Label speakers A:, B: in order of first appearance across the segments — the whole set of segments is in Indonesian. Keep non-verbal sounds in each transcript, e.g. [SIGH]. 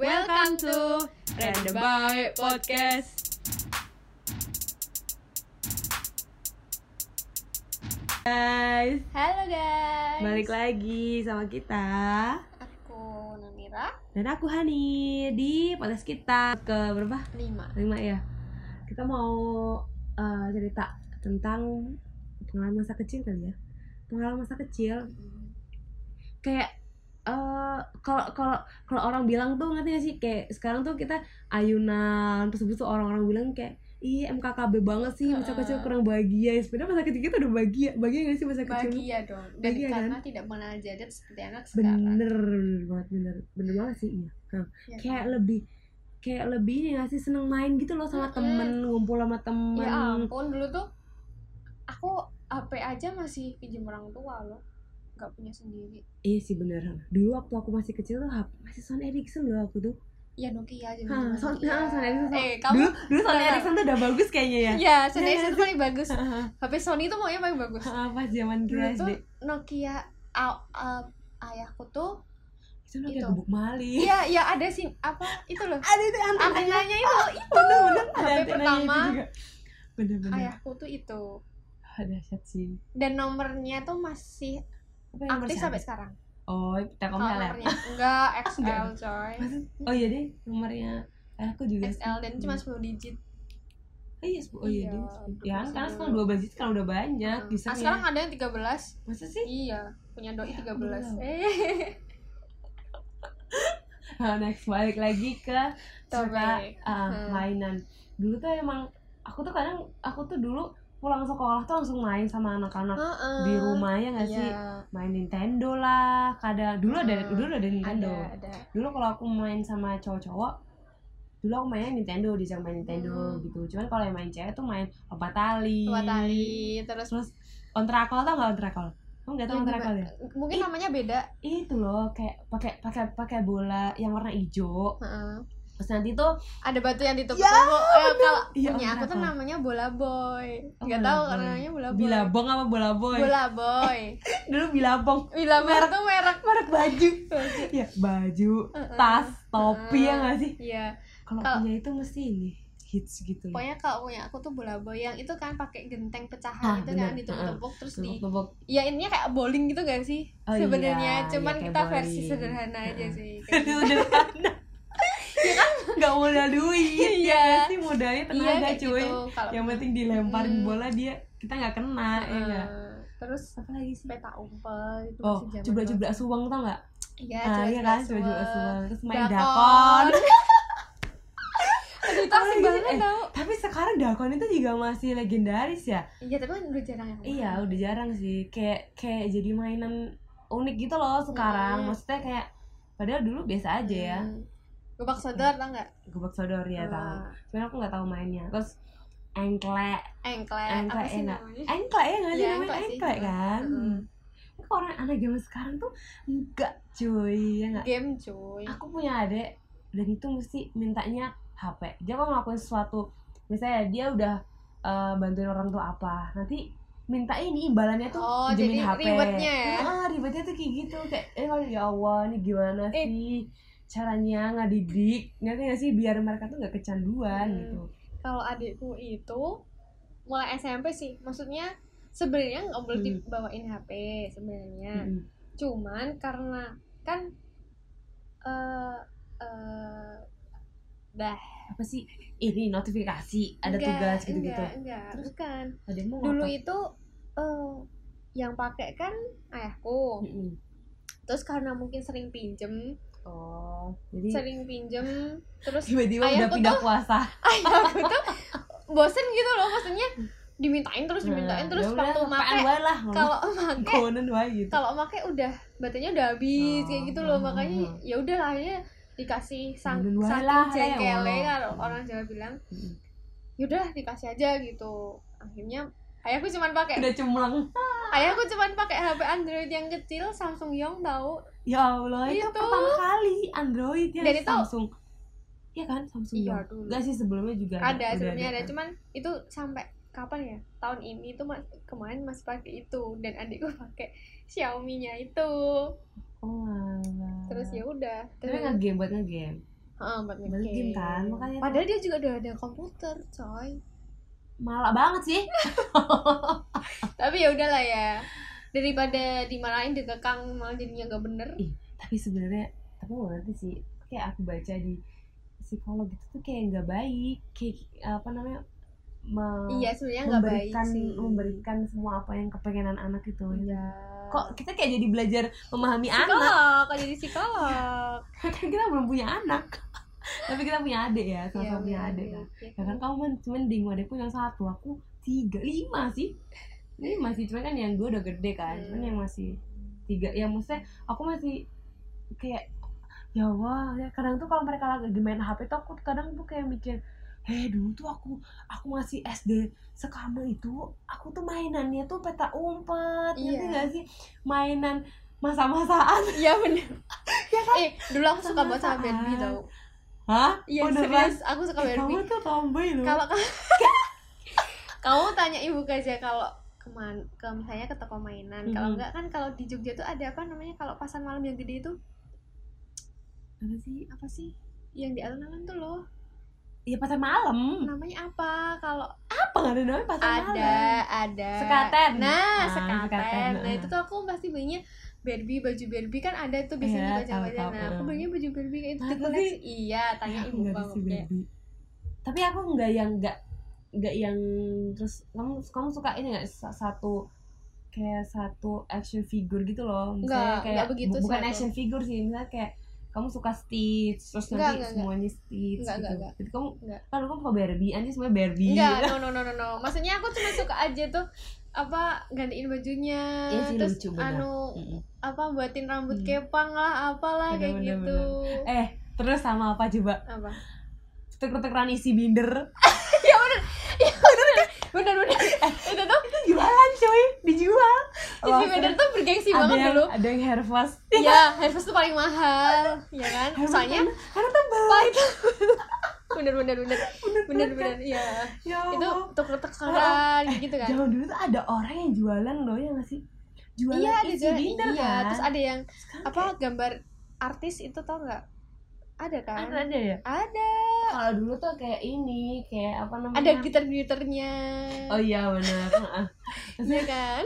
A: Welcome to Random Baik Podcast.
B: Guys,
A: Halo guys.
B: balik lagi sama kita
A: Aku Namira
B: dan aku Hani di podcast kita ke berapa?
A: 5.
B: Lima ya. Kita mau eh, cerita tentang pengalaman masa kecil kali ya. Pengalaman masa kecil kayak eh, kalau kalau kalau orang bilang tuh ngerti gak sih kayak sekarang tuh kita ayunan terus habis itu orang-orang bilang kayak iya MKKB banget sih masa
A: Heeh.
B: kecil kurang bahagia Ya, sebenarnya masa kecil kita udah bahagia bahagia gak sih masa kecil
A: Bahagia ya dong. Dan
B: Bahagia,
A: karena tidak mengenal jadab seperti anak
B: ya kan? bener
A: sekarang.
B: bener banget bener bener banget sih iya Hah.
A: Ya.
B: kayak lebih kayak lebih ini gak sih seneng main gitu loh sama
A: Mm-mm.
B: temen ngumpul sama temen
A: Ya ampun dulu tuh aku HP aja masih pinjam orang tua loh. Gak punya sendiri.
B: iya sih bener dulu waktu aku masih kecil tuh hap- masih Sony Ericsson loh aku tuh
A: Ya Nokia aja.
B: Hah, Son- Hah, Sony Ericsson Son-
A: Eh, kamu
B: dulu dulu Sony
A: Bentar.
B: Ericsson tuh udah bagus kayaknya ya
A: Ya, Sony
B: Ya,
A: Ericsson paling bagus.
B: Heeh.
A: HP Sony tuh maunya paling bagus.
B: Ah, [LAUGHS] pas zaman
A: Dulu
B: kita
A: tuh
B: SD
A: Nokia a- a- ayahku tuh
B: itu Nokia
A: itu.
B: gebuk mali
A: Iya, ya ada sih apa itu loh.
B: [LAUGHS] ada itu kan?
A: Antenanya itu itu.
B: bener-bener
A: HP pertama. Ah, ya.
B: bener-bener
A: Ayahku tuh itu.
B: ada Oh, dahsyat sih
A: Dan nomornya tuh masih
B: Apa yang
A: aktif
B: nomor
A: Ah, sampai
B: satu?
A: sekarang.
B: oh telkomsel ya [LAUGHS]
A: nomornya enggak
B: Enggak.
A: XL coy.
B: Maksud- oh iya deh nomornya Eh, aku juga
A: XL
B: sih.
A: dan cuma 10 digit.
B: oh iya sepuluh- oh iya
A: Iya,
B: deh
A: dulu
B: ya
A: masih
B: karena
A: dulu.
B: sekarang dua belas kan udah banyak
A: Nah,
B: bisa ya.
A: sekarang ada yang 13.
B: masa sih
A: Iya, punya doi
B: Ya,
A: 13.
B: belum.
A: Eh,
B: [LAUGHS] Nah, [LAUGHS] next balik lagi ke cerita
A: Topik.
B: ah,
A: Hmm.
B: mainan dulu tuh emang aku tuh kadang aku tuh dulu pulang sekolah tuh langsung main sama anak-anak
A: heeh.
B: di rumah ya nggak sih
A: Hmm, Iya,
B: main Nintendo lah kadang dulu ada
A: Hmm.
B: dulu ada Nintendo
A: ada, ada.
B: dulu kalau aku main sama cowok-cowok dulu aku mainnya Nintendo diajak main Nintendo
A: Hmm.
B: gitu cuman kalau yang main cewek tuh main lompat tali
A: Tua tali, terus
B: terus kontrakol tau nggak kontrakol kamu nggak tahu
A: Ya,
B: kontrakol ya
A: mungkin
B: Ih.
A: namanya beda.
B: itu loh kayak pakai pakai pakai bola yang warna hijau
A: Heeh.
B: terus nanti tuh
A: Ada batu yang ditutup.
B: Ya,
A: Oh, eh, kalau
B: Iya,
A: punya aku tuh
B: kontrakol.
A: namanya bola boy.
B: Oh,
A: Enggak
B: bola
A: tahu
B: boy.
A: karena namanya bola boy.
B: bilabong apa bola boy
A: Bola
B: [LAUGHS]
A: boy.
B: dulu bilabong
A: Bila merek tuh merek.
B: merek baju ya baju
A: Heeh.
B: tas topi ya nggak sih
A: Iya.
B: kalau
A: Kalau-
B: punya itu mesti ini hits gitu loh
A: Pokoknya kalau punya aku tuh bola boy yang itu kan pakai genteng
B: Ah,
A: pecahan itu
B: bener.
A: kan ditumpuk-tumpuk terus di [LAUGHS]
B: Tepuk-tepuk.
A: ya ininya kayak bowling gitu gak sih?
B: Oh iya,
A: Sebenarnya cuman
B: iya, kayak
A: kita versi
B: bowling.
A: sederhana aja
B: Heeh.
A: sih. kayak gitu.
B: [LAUGHS] Jadi sederhana Iya kan? nggak modal duit
A: Iya.
B: ya nggak sih modalnya
A: gitu. Iya
B: tenaga
A: kayak
B: cuy
A: gitu. Kalau
B: yang penting dilemparin
A: Hmm.
B: bola dia kita nggak kena ya
A: Heeh.
B: nggak
A: Eh, terus
B: apa lagi sih
A: peta umpel itu
B: oh
A: masih zaman
B: jebla
A: banget.
B: jebla suang tau nggak
A: Iya,
B: ah iya
A: jebla-jebla
B: kan jebla jebla
A: suang.
B: suang terus main
A: Dakon.
B: dakon
A: [LAUGHS] Aduh, itu asik
B: Apalagi sih,
A: banget
B: eh,
A: tau.
B: tapi sekarang dakon itu juga masih legendaris ya
A: Iya, tapi kan udah jarang yang
B: iya
A: main.
B: udah jarang sih kayak kayak jadi mainan unik gitu loh sekarang
A: Hmm.
B: maksudnya kayak padahal dulu biasa aja ya
A: Hmm. Gobak sodor tau gak?
B: gubak sodor
A: Iya.
B: ya tau cuman aku nggak tahu mainnya terus engklek
A: Engklek, apa
B: Engklek
A: sih
B: enak.
A: namanya?
B: engklek ya nggak sih
A: Iya,
B: namanya
A: engklek sih.
B: engklek kan
A: Heeh.
B: Tapi kok orang anak zaman sekarang tuh enggak cuy ya nggak
A: Game cuy
B: aku punya adik dan itu mesti mintanya HP dia kalau ngelakuin sesuatu misalnya dia udah eh, bantuin orang tuh apa nanti minta ini imbalannya tuh
A: Oh,
B: pinjemin
A: jadi
B: HP
A: rewardnya ya?
B: Ah, ribetnya tuh kayak gitu kayak eh kalau ya Allah ini gimana
A: Eh.
B: sih caranya ngadidik ngerti gak sih biar mereka tuh nggak kecanduan
A: Hmm.
B: gitu
A: kalau adikku itu mulai SMP sih maksudnya sebenarnya nggak boleh
B: Hmm.
A: dibawain HP sebenarnya
B: Mm-mm.
A: cuman karena kan eh eh dah
B: apa sih ini notifikasi ada
A: Enggak,
B: tugas gitu gitu
A: enggak, enggak
B: Terus?
A: bukan
B: ada mau
A: dulu ya.
B: ngapa?
A: itu eh yang pakai kan ayahku
B: Mm-mm.
A: terus karena mungkin sering pinjem
B: oh jadi
A: sering pinjem
B: [LAUGHS]
A: terus [LAUGHS]
B: tiba-tiba udah
A: ayahku
B: pindah puasa
A: ayahku tuh bosen gitu loh maksudnya dimintain terus dimintain terus
B: Ya udah,
A: waktu
B: apaan
A: make
B: wae lah
A: kalau make
B: konen wae gitu
A: kalau pakai udah baterainya udah habis
B: Oh,
A: kayak gitu loh
B: hmm,
A: makanya
B: hmm.
A: ya udah lah akhirnya dikasih sang
B: Minum wae lah,
A: saking jengkelnya
B: ya
A: kalau
B: Allah.
A: orang Jawa bilang
B: Mm.
A: yaudah dikasih aja gitu akhirnya ayahku cuman pakai
B: udah cemlang
A: ayahku cuman pakai HP Android yang kecil Samsung Yong tahu
B: ya Allah itu,
A: Itu.
B: pertama kali Android ya
A: Dan itu-
B: Samsung Iya kan Samsung
A: Iya,
B: ya?
A: dulu.
B: Enggak sih sebelumnya juga
A: ada
B: udah
A: sebelumnya ada
B: kan?
A: cuman itu sampai kapan ya tahun ini tuh mas- kemarin masih pakai itu dan adikku pakai Xiaomi-nya itu
B: oh, alah.
A: terus ya udah
B: Iya. tapi
A: terus
B: nggak game buat nggak game
A: Heeh, buat
B: Buat
A: nge-game.
B: game kan, makanya tuh-
A: Padahal dia juga udah ada komputer, coy.
B: malah banget sih
A: Tapi ya udahlah ya. Daripada dimarahin dikekang malah jadinya nggak bener.
B: tapi sebenarnya tapi gue ngerti sih kayak aku baca di psikolog itu tuh kayak nggak baik kayak apa namanya me-
A: Iya, sebenarnya nggak baik
B: memberikan
A: sih.
B: memberikan semua apa yang kepengenan anak itu
A: Iya.
B: kok kita kayak jadi belajar memahami anak
A: psikolog, kok jadi psikolog.
B: kan kita belum punya anak
A: [LAUGHS]
B: tapi kita punya adik
A: Iya,
B: ya sama-sama punya adik kan
A: iya.
B: ya kan kamu men- cuman ding adikku yang satu aku tiga lima sih ini masih cuman kan yang gue udah gede kan cuman
A: Hmm.
B: yang masih tiga yang maksudnya aku masih kayak ya wah ya kadang tuh kalau mereka lagi main HP tuh aku kadang tuh kayak mikir eh dulu tuh aku aku masih SD sekamu itu aku tuh mainannya tuh peta umpet ngerti
A: Iya.
B: gak sih mainan masa-masaan
A: Iya bener.
B: Ya kan?
A: Eh, dulu aku suka banget sama
B: Sama-sama.
A: Barbie tau.
B: hah
A: Iya,
B: Beneran?
A: serius. Aku suka
B: Eh, kamu
A: Barbie.
B: tuh tomboy loh [LAUGHS]
A: Kalau kamu, kamu tanya ibu aja kalau keman, ke misalnya ke toko mainan. Kalau
B: Mhm.
A: enggak kan kalau di Jogja tuh ada apa namanya kalau pasar malam yang gede itu
B: apa sih
A: apa sih? Yang di alun-alun tuh loh.
B: ya pasar malam
A: Namanya apa? Kalau
B: apa nggak ada namanya pasar
A: ada
B: malam
A: ada
B: Sekaten.
A: nah
B: Ah,
A: sekaten.
B: sekaten,
A: nah
B: ah.
A: itu tuh aku pasti belinya Barbie baju Barbie kan ada tuh
B: Iya,
A: biasanya di baca
B: tahu, tahu,
A: nah aku
B: ah.
A: belinya baju Barbie kayak itu
B: Masa
A: di koleksi
B: sih?
A: iya tanya
B: aku
A: ibu
B: nggak
A: kamu
B: bisa
A: kayak
B: baby. tapi aku nggak yang nggak nggak yang terus kamu kamu suka ini nggak sa- satu kayak satu action figure gitu loh
A: Nggak,
B: misalnya kayak
A: nggak begitu
B: bu-
A: sih
B: bukan
A: aku.
B: action figure sih misalnya kayak kamu suka Stitch terus nanti
A: Nggak, nggak,
B: semuanya Stitch
A: Nggak,
B: gitu
A: nggak, nggak.
B: jadi kamu
A: Nggak.
B: kan kamu suka Barbie anjir semuanya Barbie Iya.
A: enggak no no no no no maksudnya aku cuma suka aja tuh apa gantiin bajunya
B: Iya sih,
A: terus
B: lucu, benar.
A: anu
B: [LAUGHS] Mm-mm.
A: apa buatin rambut
B: Hmm.
A: kepang lah apalah
B: Benar,
A: kayak
B: benar,
A: gitu
B: eh terus sama apa coba
A: apa
B: tuker-tukeran isi binder
A: bener bener
B: [LAUGHS]
A: itu tuh
B: itu jualan coy dijual
A: isi bener tuh bergengsi
B: ada
A: banget ya,
B: yang [LAUGHS]
A: dulu
B: ada yang hair wash.
A: ya harvest tuh paling mahal ya kan
B: Hair wash
A: soalnya
B: karena- karena tebal
A: bener bener bener
B: [LAUGHS]
A: bener bener iya
B: ya
A: itu
B: Allah.
A: tuker
B: oh.
A: tukeran gitu kan
B: Zaman dulu tuh ada orang yang jualan loh ya nggak sih? Jualan
A: iya ada
B: isi
A: jualan
B: binder
A: iya
B: kan?
A: terus ada yang
B: Sekarang
A: apa gambar artis itu tau nggak ada kan
B: kayak- ada, ada ya?
A: ada
B: Kalau dulu tuh kayak ini, kayak apa namanya?
A: ada glitter glitternya
B: Iya. gitu. Oh iya benar.
A: iya
B: Heeh. Maksudnya
A: kan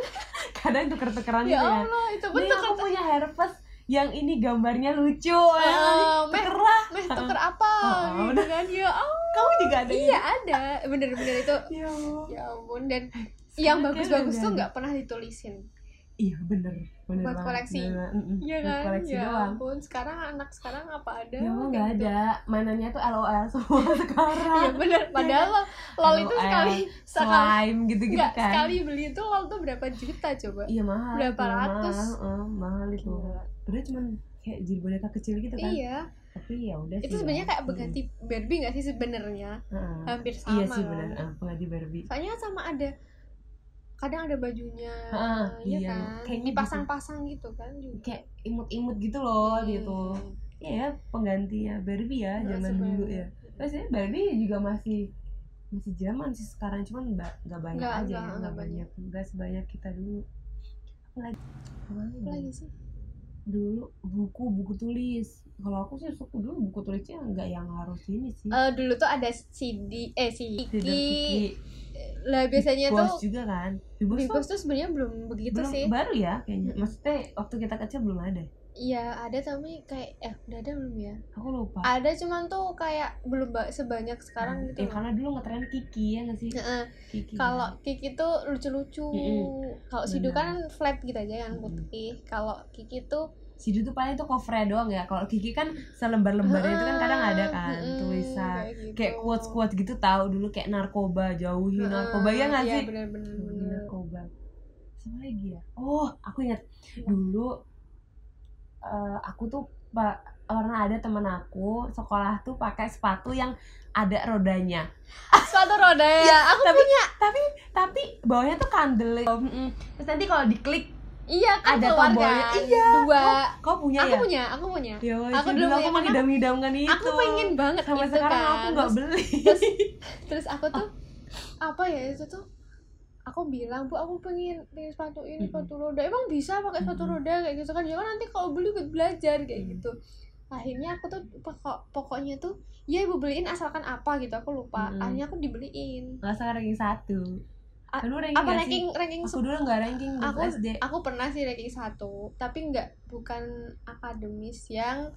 B: kadang tuker-tukeran
A: ya
B: gitu ya.
A: allah itu pun
B: Nih
A: tuker
B: aku punya hair plus yang ini gambarnya lucu. ya nggak sih?
A: Eh, meh
B: Tukerah.
A: meh tuker apa
B: Oh, oh,
A: gitu kan ya allah
B: Kamu juga ada
A: iya ada bener bener itu
B: gitu? Ya Allah.
A: ya ampun dan yang
B: Sekarang
A: bagus
B: kayaknya
A: bagus
B: udah
A: tuh
B: ada.
A: nggak pernah ditulisin
B: Iya bener. bener
A: Buat
B: banget,
A: koleksi.
B: bener banget. Mm-mm.
A: Iya
B: Buat
A: kan?
B: koleksi
A: ya
B: doang.
A: ampun, sekarang anak sekarang apa ada?
B: Ya Allah nggak
A: kayak gitu?
B: ada. Iya. Mainannya tuh LOL semua
A: [LAUGHS] Iya
B: sekarang.
A: bener, padahal lo- LOL itu
B: LOL,
A: sekali sekali
B: Slime gitu-gitu
A: enggak
B: kan.
A: sekali beli itu LOL tuh berapa juta coba?
B: Iya mahal.
A: Berapa
B: itu,
A: ratus?
B: Mahal, eh, mahal itu.
A: Gila.
B: Padahal cuman kayak jadi boneka kecil gitu kan.
A: Iya,
B: Tapi ya udah sih.
A: itu sebenarnya
B: ya.
A: kayak berganti Barbie nggak sih sebenarnya?
B: Heeh.
A: Hampir sama.
B: Iya sih
A: kan?
B: benar. Ah, pengganti Barbie.
A: Soalnya sama ada kadang ada bajunya,
B: Heeh,
A: iya,
B: iya.
A: kan?
B: Kayaknya
A: Dipasang-pasang gitu kan juga.
B: Kayak imut-imut gitu loh dia tuh.
A: Hmm.
B: Iya ya, pengganti ya Barbie ya
A: Heeh,
B: zaman
A: Iya, sebenarnya.
B: dulu ya. Terus ini Barbie juga masih masih zaman sih sekarang cuman ba- nggak banyak
A: Nggak,
B: aja
A: nggak,
B: ya
A: nggak
B: nggak banyak nggak sebanyak kita dulu apalagi apalagi
A: Apa
B: ya?
A: lagi sih?
B: dulu buku buku tulis kalau aku sih suka dulu buku tulisnya nggak yang harus ini sih
A: Eh, dulu tuh ada CD eh si
B: Tidak
A: Iki.
B: Kiki.
A: Lah biasanya
B: Big Boss
A: tuh
B: juga kan Big Boss
A: Big
B: tuh
A: Boss tuh sebenarnya belum begitu
B: belum-
A: sih.
B: baru ya kayaknya
A: Mm-mm.
B: maksudnya waktu kita kecil belum ada
A: Iya, ada tapi kayak eh udah ada belum ya?
B: aku lupa
A: Ada cuman tuh kayak belum ba- sebanyak sekarang
B: ya
A: gitu. loh.
B: karena dulu ngetren Kiki ya nggak sih
A: Heeh.
B: Kiki kan.
A: Kalau Kiki tuh lucu-lucu.
B: Iya. Mm-mm.
A: Kalau Sidu kan
B: Benar.
A: flat gitu aja yang
B: Mm-mm.
A: putih. Kalau Kiki tuh
B: Sidu tuh paling tuh covernya doang ya kalau Kiki kan
A: [LAUGHS]
B: selembar-lembarnya itu kan kadang
A: Ah,
B: ada kan
A: Mm-mm,
B: tulisan
A: kayak, gitu.
B: kayak quotes quotes gitu tahu dulu kayak narkoba jauhi
A: Heeh,
B: narkoba ya nggak
A: iya,
B: sih
A: benar-benar.
B: Jauhi
A: benar.
B: narkoba sama lagi ya oh aku ingat
A: Iya.
B: dulu eh, aku tuh pa- pernah ada temen aku sekolah tuh pakai sepatu yang ada rodanya
A: Sepatu roda ya. Aku
B: tapi tapi tapi bawahnya tuh kandel Mm-mm. terus nanti kalau diklik
A: iya kan
B: Ada
A: keluarga.
B: tombolnya. Iya.
A: Dua.
B: kau punya
A: aku
B: ya
A: punya, aku punya.
B: Ya Allah,
A: Aku
B: sih,
A: dulu
B: dulu aku
A: punya,
B: mengidam idamkan itu
A: Aku pengen banget
B: Gitu. sampai
A: itu
B: sekarang
A: kan.
B: aku nggak beli [LAUGHS]
A: terus terus aku tuh apa ya itu tuh aku bilang bu aku pengen beli sepatu ini
B: Mm-mm.
A: sepatu roda emang bisa pakai sepatu
B: Mm-mm.
A: roda kayak gitu kan ya kan nanti kalau beli ikut belajar kayak
B: Mm.
A: gitu akhirnya aku tuh pokok pokoknya tuh ya ibu beliin asalkan apa gitu aku lupa
B: Mm-mm.
A: akhirnya aku dibeliin
B: nggak salah ranking satu
A: A-
B: Kan lu ranking
A: apa
B: nggak sih?
A: ranking ranking
B: aku
A: se-
B: dulu nggak ranking pas
A: Aku-
B: SD
A: aku pernah sih ranking satu tapi nggak bukan akademis yang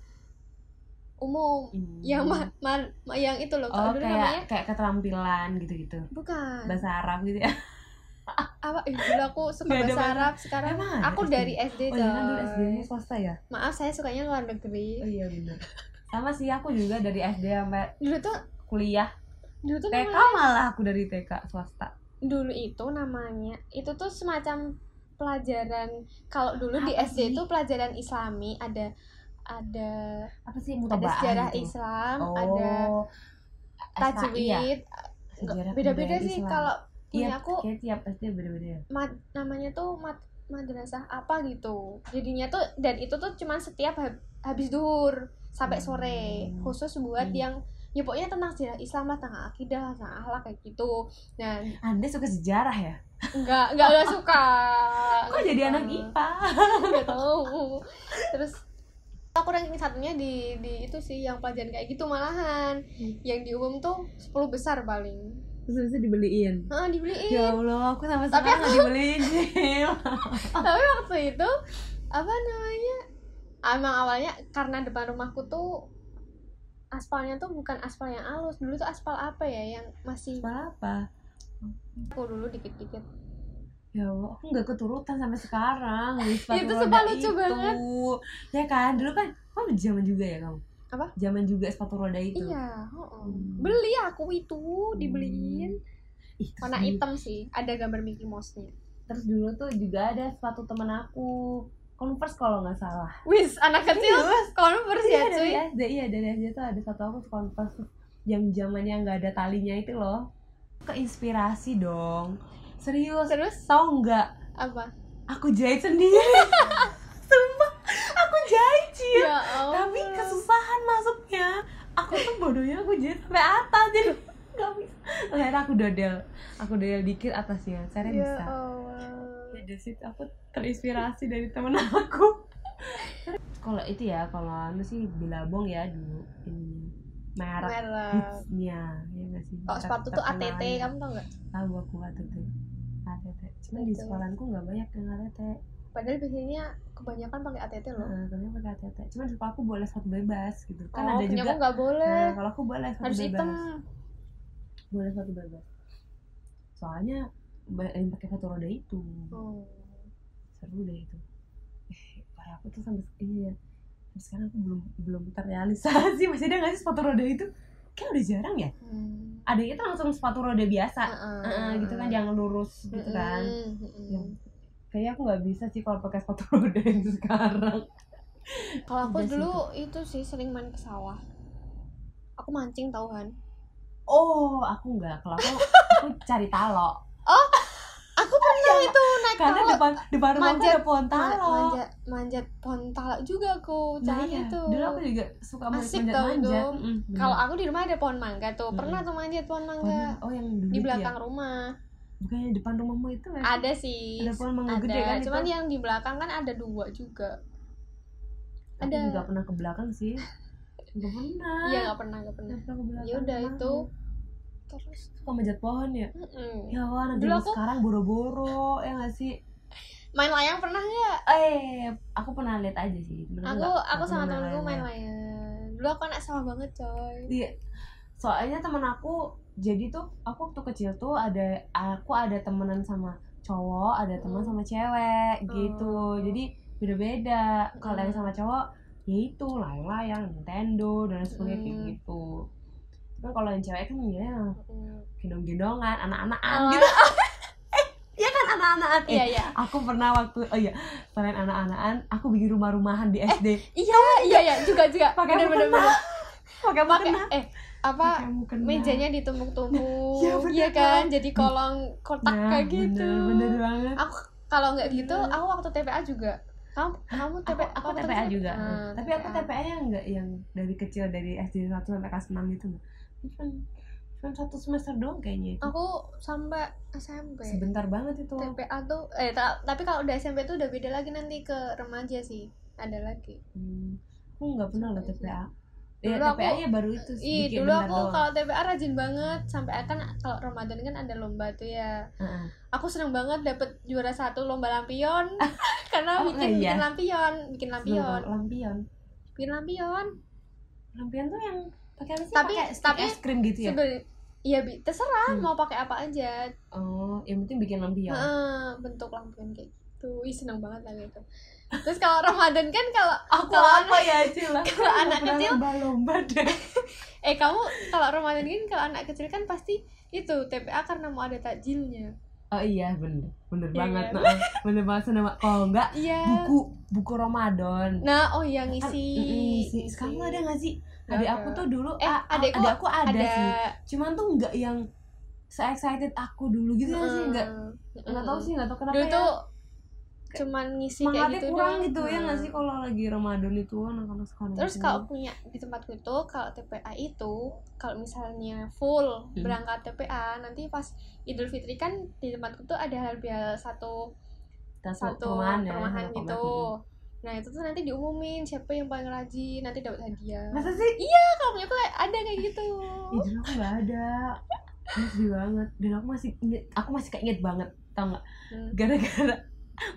A: umum
B: Hmm.
A: yang ma- ma- ma- yang itu loh
B: oh
A: kalau dulu namanya Ah.
B: kayak kayak keterampilan gitu gitu
A: bukan
B: bahasa Arab gitu ya
A: apa eh, dulu aku suka
B: Nggak ada
A: bahasa
B: bahasa.
A: Arab sekarang
B: Emang ada
A: aku
B: SD?
A: dari SD
B: oh iya kan dulu SD nya
A: coy
B: swasta ya
A: maaf saya sukanya luar negeri
B: oh iya benar sama sih aku juga dari SD sampai
A: dulu tuh
B: kuliah
A: dulu tuh
B: TK
A: namanya-
B: malah aku dari TK swasta
A: dulu itu namanya itu tuh semacam pelajaran kalau dulu di
B: Apa
A: SD
B: sih?
A: itu pelajaran Islami ada ada
B: apa sih
A: ada
B: mutaba'ah
A: sejarah
B: gitu
A: Islam
B: oh
A: ada
B: SKI ya?
A: tajwid nggak-
B: Sejarah
A: beda-beda
B: kebudayaan
A: sih
B: Islam.
A: kalau punya
B: Iya,
A: aku
B: kayak tiap SD beda-beda ya
A: mad- namanya tuh mad- madrasah apa gitu jadinya tuh dan itu tuh cuman setiap hab- habis duhur sampai sore
B: Hmm.
A: khusus buat
B: Hmm.
A: yang ya pokoknya tentang sejarah Islam lah tentang akidah lah tentang akhlak kayak gitu
B: [LAUGHS]
A: nah
B: Anda suka sejarah ya?
A: nggak nggak nggak suka
B: Kok jadi anak
A: gitu
B: IPA?
A: nggak tahu terus aku ranking satunya di di itu sih yang pelajaran kayak gitu malahan
B: Hmm.
A: yang di umum tuh 10 besar paling
B: Terus bisa dibeliin
A: Heeh, dibeliin
B: Ya Allah, aku sama
A: Iya. Tapi
B: sekarang nggak dibeliin
A: [LAUGHS]
B: Jil.
A: tapi waktu itu apa namanya emang awalnya karena depan rumahku tuh aspalnya tuh bukan aspal yang halus dulu tuh aspal apa ya yang masih
B: Aspal apa?
A: aku dulu dikit-dikit
B: Ya Allah, aku nggak keturutan sampai sekarang beli sepatu
A: Itu
B: roda
A: sumpah lucu banget.
B: Ya kan, dulu kan kamu zaman juga ya kamu?
A: Apa?
B: Zaman juga sepatu roda itu
A: iya heeh.
B: Hmm.
A: beli aku itu dibeliin
B: Ih, terus
A: warna
B: dulu-
A: hitam sih ada gambar Mickey Mouse nya
B: Terus dulu tuh juga ada sepatu temen aku Converse kalau nggak salah
A: Wis, anak kecil Converse ya
B: Iya, dari
A: cuy.
B: SD, iya dari SD tuh ada satu aku Converse yang zamannya nggak ada talinya itu loh Keinspirasi dong Serius,
A: Terus
B: tau nggak?
A: apa?
B: Aku
A: [LAUGHS]
B: jahit sendiri Sumpah, aku jahit Cil
A: Ya Allah.
B: Iya, Tapi kesusahan masuknya Aku tuh bodohnya aku jahit sampai atas Jadi [LAUGHS] nggak bisa Akhirnya aku dodel Aku dodel dikit atasnya, akhirnya
A: Ya
B: bisa
A: Allah.
B: Ya, dari situ aku terinspirasi dari temen aku [LAUGHS] kalau itu ya kalau anu sih bilabong ya dulu ini merek
A: Merah.
B: hitsnya ya nggak sih
A: Kalau sepatu tuh ATT, kamu tau nggak?
B: tahu aku ATT ATT cuman di
A: Betul.
B: sekolahanku nggak banyak yang ATT
A: Padahal biasanya kebanyakan pakai ATT loh.
B: nah, karena pakai ATT cuman di sekolah aku boleh sepatu bebas gitu kan
A: oh,
B: ada
A: punya
B: juga
A: aku nggak boleh.
B: nah, kalau aku boleh sepatu
A: Eh, Harus
B: bebas
A: hitam.
B: boleh sepatu bebas soalnya ba- yang pakai sepatu roda itu
A: Oh.
B: seru deh itu eh parah aku tuh sampai iya sampai sekarang aku belum belum terrealisasi [LAUGHS] masih ada nggak sih sepatu roda itu kayak udah jarang ya
A: Hmm. Ah,
B: ada itu langsung sepatu roda biasa
A: Heeh.
B: Heeh, gitu kan yang lurus gitu kan
A: Mm, mm, mm.
B: Ya, kayaknya aku nggak bisa sih kalau pakai sepatu [LAUGHS] roda itu sekarang
A: Kalau aku
B: Udah sih
A: dulu itu sih sering main ke sawah. Aku mancing tau kan.
B: oh aku nggak kalau aku, aku cari talo
A: Aku pernah itu naik
B: karena
A: talo.
B: depan depan rumahku
A: Manjat- Ah,
B: ada pohon talo
A: manjat manjat pohon talak juga aku
B: Nah,
A: cari
B: iya.
A: itu
B: dulu aku juga suka
A: Asik
B: manjat
A: tau
B: manjat
A: itu. kalau aku di rumah ada pohon mangga tuh
B: Hmm.
A: pernah tuh manjat pohon mangga
B: oh yang dulu
A: di
B: itu
A: belakang
B: ya?
A: rumah
B: bukannya depan rumahmu itu nggak sih?
A: ada sih
B: ada pohon mangga
A: ada
B: gede kan
A: cuman
B: itu
A: yang di belakang kan ada dua juga
B: aku
A: ada.
B: nggak pernah ke belakang sih nggak pernah
A: iya nggak pernah nggak pernah
B: Nggak pernah ke belakang
A: ya udah
B: emang.
A: itu terus
B: suka manjat pohon ya
A: mm-mm.
B: ya Allah anak
A: Dulu
B: zaman
A: aku-
B: sekarang boro-boro ya nggak sih
A: main layang pernah nggak
B: eh aku pernah lihat aja sih Bener
A: aku
B: nggak?
A: aku
B: pernah
A: sama temenku main
B: layang-layang.
A: layang dulu aku anak sawah banget coy
B: Iya. soalnya teman aku jadi tuh aku waktu kecil tuh ada aku ada temenan sama cowok ada teman
A: Hmm.
B: sama cewek gitu
A: Oh.
B: jadi beda-beda kalau yang
A: Hmm.
B: sama cowok ya itu layang-layang Nintendo dan lain sebagainya kayak
A: Hmm.
B: gitu tapi kalau yang cewek kan ya
A: Mm.
B: gendong-gendongan anak-anakan
A: Alah.
B: gitu
A: [LAUGHS]
B: iya kan anak-anakan
A: Oh. iya
B: Eh,
A: iya
B: aku pernah waktu oh iya selain anak-anakan aku bikin rumah-rumahan di SD
A: iya iya iya juga juga
B: pakai
A: Bener, bener,
B: mukena
A: bener.
B: pakai
A: pakai
B: mukena
A: eh apa
B: pakai mukena
A: mejanya ditumpuk-tumpuk
B: Iya, bener
A: iya kan jadi kolong kotak
B: Nah,
A: kayak gitu
B: bener, bener banget
A: aku kalau nggak gitu
B: Bener.
A: aku waktu TPA juga kamu kamu
B: aku,
A: TPA
B: aku
A: kamu
B: TPA
A: terus-
B: juga
A: Ah,
B: tapi aku TPA yang enggak yang dari kecil dari SD 1 sampai kelas 6 gitu loh. cuma cuma satu semester doang kayaknya itu.
A: aku sampai SMP
B: sebentar banget itu
A: TPA tuh eh ta- tapi kalau udah SMP tuh udah beda lagi nanti ke remaja sih ada lagi
B: Hmm, aku nggak pernah loh TPA ya
A: Dulu aku-
B: TPA nya baru itu
A: Ih,
B: sedikit,
A: dulu
B: bentar
A: aku
B: doang.
A: kalau TPA rajin banget sampai akan kalau Ramadan kan ada lomba tuh ya.
B: Heeh.
A: Aku seneng banget dapet juara satu lomba lampion [LAUGHS] karena
B: Oh,
A: bikin
B: iya.
A: bikin lampion, bikin lampion,
B: Bentar, lampion
A: bikin lampion.
B: lampion tuh yang pakai apa sih
A: Tapi-
B: pakai stick
A: tapi-
B: es krim gitu ya
A: Seben- Iya, Bi, terserah
B: Hmm.
A: mau pakai apa aja.
B: oh yang penting bikin lampion
A: Heeh, bentuk lampion kayak gitu. Ih, seneng banget lah gitu. Terus kalau Ramadan kan kalau
B: aku
A: kalau
B: apa ya Cila
A: kalau anak kecil-
B: lomba
A: [LAUGHS]
B: deh
A: eh kamu kalau Ramadan kan kalau anak kecil kan pasti itu TPA karena mau ada takjilnya.
B: oh iya bener bener
A: Iya
B: banget
A: kan?
B: heeh. bener banget senama kalau enggak
A: Iya.
B: buku buku Ramadan
A: Nah, oh yang
B: Kan-
A: ngisi.
B: mm-mm, ngisi. sekarang lo ada gak sih
A: Gak
B: adik
A: ada.
B: aku tuh dulu
A: Eh,
B: a- a-
A: adikku
B: adik aku ada,
A: ada
B: sih cuman tuh nggak yang se excited aku dulu gitu gak sih nggak nggak tahu sih nggak tahu kenapa
A: Dulu
B: ya.
A: tuh cuman ngisi kayak
B: semangatnya
A: gitu
B: kurang
A: doang.
B: gitu ya nggak
A: Nah.
B: sih Hmm. kalau lagi Ramadan itu anak-anak sekarang
A: Terus
B: itu.
A: kalau punya di tempatku itu kalau TPA itu kalau misalnya full
B: Hmm.
A: berangkat TPA nanti pas Idul Fitri kan di tempatku tuh ada hal bial satu
B: Kita
A: satu perumahan,
B: perumahan ya, satu perumahan.
A: gitu. Nah, itu tuh nanti diumumin siapa yang paling rajin nanti dapat hadiah.
B: masa sih
A: Nah, kalau punya aku kayak ada kayak gitu.
B: [LAUGHS] Ih, dulu aku nggak ada Aku sedih banget dan aku masih inget, aku masih keinget banget tau nggak
A: Hmm.
B: gara-gara [LAUGHS]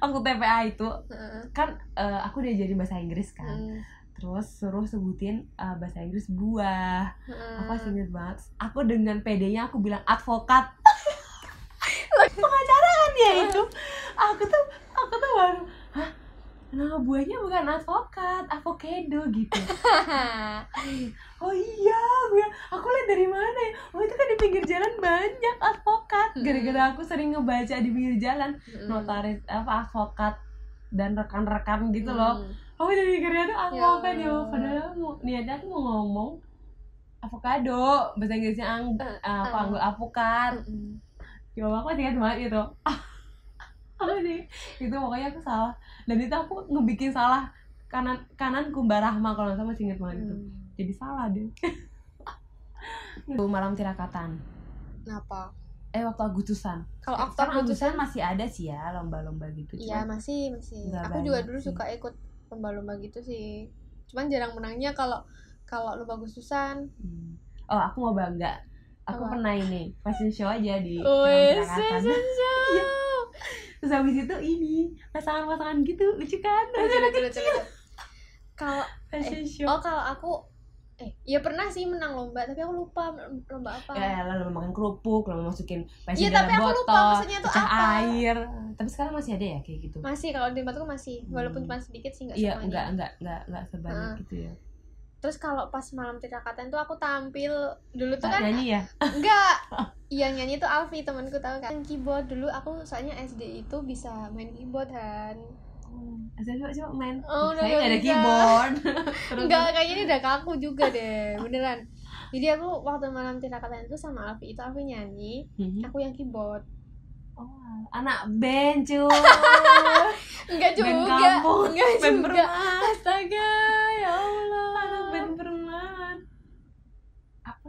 B: waktu TPA itu
A: Heeh.
B: kan eh, aku diajarin bahasa Inggris kan
A: Hmm.
B: terus suruh sebutin eh, bahasa Inggris buah
A: Heeh.
B: aku masih inget banget aku dengan PD-nya aku bilang
A: [LAUGHS]
B: advokat pengacara kan ya itu aku tuh aku tuh baru hah nama buahnya bukan advokat avocado
A: [LAUGHS]
B: gitu oh iya gue aku lihat dari mana ya oh itu kan di pinggir jalan banyak advokat gara-gara aku sering ngebaca di pinggir jalan
A: Hmm.
B: notaris apa advokat dan rekan-rekan gitu loh
A: Hmm.
B: Oh jadi mikirnya tuh avokan
A: Ya
B: ya
A: Allah.
B: Padahal mau, niatnya aku mau ngomong Avocado Bahasa Inggrisnya ang
A: Eh,
B: apa
A: eh.
B: anggur avokat
A: Mm-mm.
B: Ya Allah, aku masih ingat banget itu [LAUGHS] Apa sih? Itu pokoknya aku salah Dan itu aku ngebikin salah Kanan kanan Kumbar Rahma kalau nggak salah masih ingat banget itu
A: Hmm.
B: Jadi salah deh [LAUGHS] Itu malam tirakatan
A: Kenapa?
B: Eh waktu Agustusan
A: Kalau after
B: Sekarang Agustusan masih ada sih ya Lomba-lomba gitu
A: Iya
B: Cuman
A: masih masih.
B: nggak
A: Aku juga
B: banyak
A: dulu
B: sih.
A: suka ikut lomba-lomba gitu sih. Cuman jarang menangnya kalau kalau lu bagus susan.
B: Hmm. Oh, aku mau bangga.
A: Apa?
B: Aku
A: Oh,
B: pernah ini fashion show aja di
A: Wes,
B: Jakarta.
A: [LAUGHS]
B: Iya. Terus habis itu ini pasangan-pasangan gitu, lucu kan?
A: Kalau
B: Fashion show.
A: oh kalau aku eh ya pernah sih menang lomba tapi aku lupa lomba apa.
B: Ya, lalu makan kerupuk, lalu masukin
A: oh. Iya,
B: pasir
A: tapi
B: dalam
A: aku lupa
B: botol,
A: maksudnya tuh
B: pecah
A: apa.
B: air. Tapi sekarang masih ada ya kayak gitu.
A: Masih kalau di tempatku masih walaupun
B: Hmm.
A: cuma sedikit sih nggak
B: Iya,
A: semuanya.
B: enggak, enggak, enggak, enggak sebanyak
A: Heeh.
B: gitu ya.
A: Terus kalau pas malam tirakatan tuh aku tampil dulu tuh kan
B: Tak nyanyi ya? [LAUGHS]
A: Enggak. Yang nyanyi itu Alfi temanku tahu kan. Yang keyboard dulu aku soalnya SD itu bisa main keyboard kan.
B: Saya coba, coba main.
A: Oh, udah nggak
B: Saya nggak ada
A: bisa.
B: keyboard. [LAUGHS] Terus-
A: Enggak, kayaknya ini udah kaku juga deh, beneran. Jadi aku waktu malam tirakatan itu sama Alfi itu Alfi nyanyi,
B: Mhm.
A: aku yang keyboard.
B: Oh, [LAUGHS] anak
A: [LAUGHS]
B: band cuy.
A: Enggak juga.
B: Band kampung,
A: Enggak
B: band
A: juga.
B: perumahan.
A: Astaga, ya
B: Anak
A: Allah.
B: band perumahan. Apa?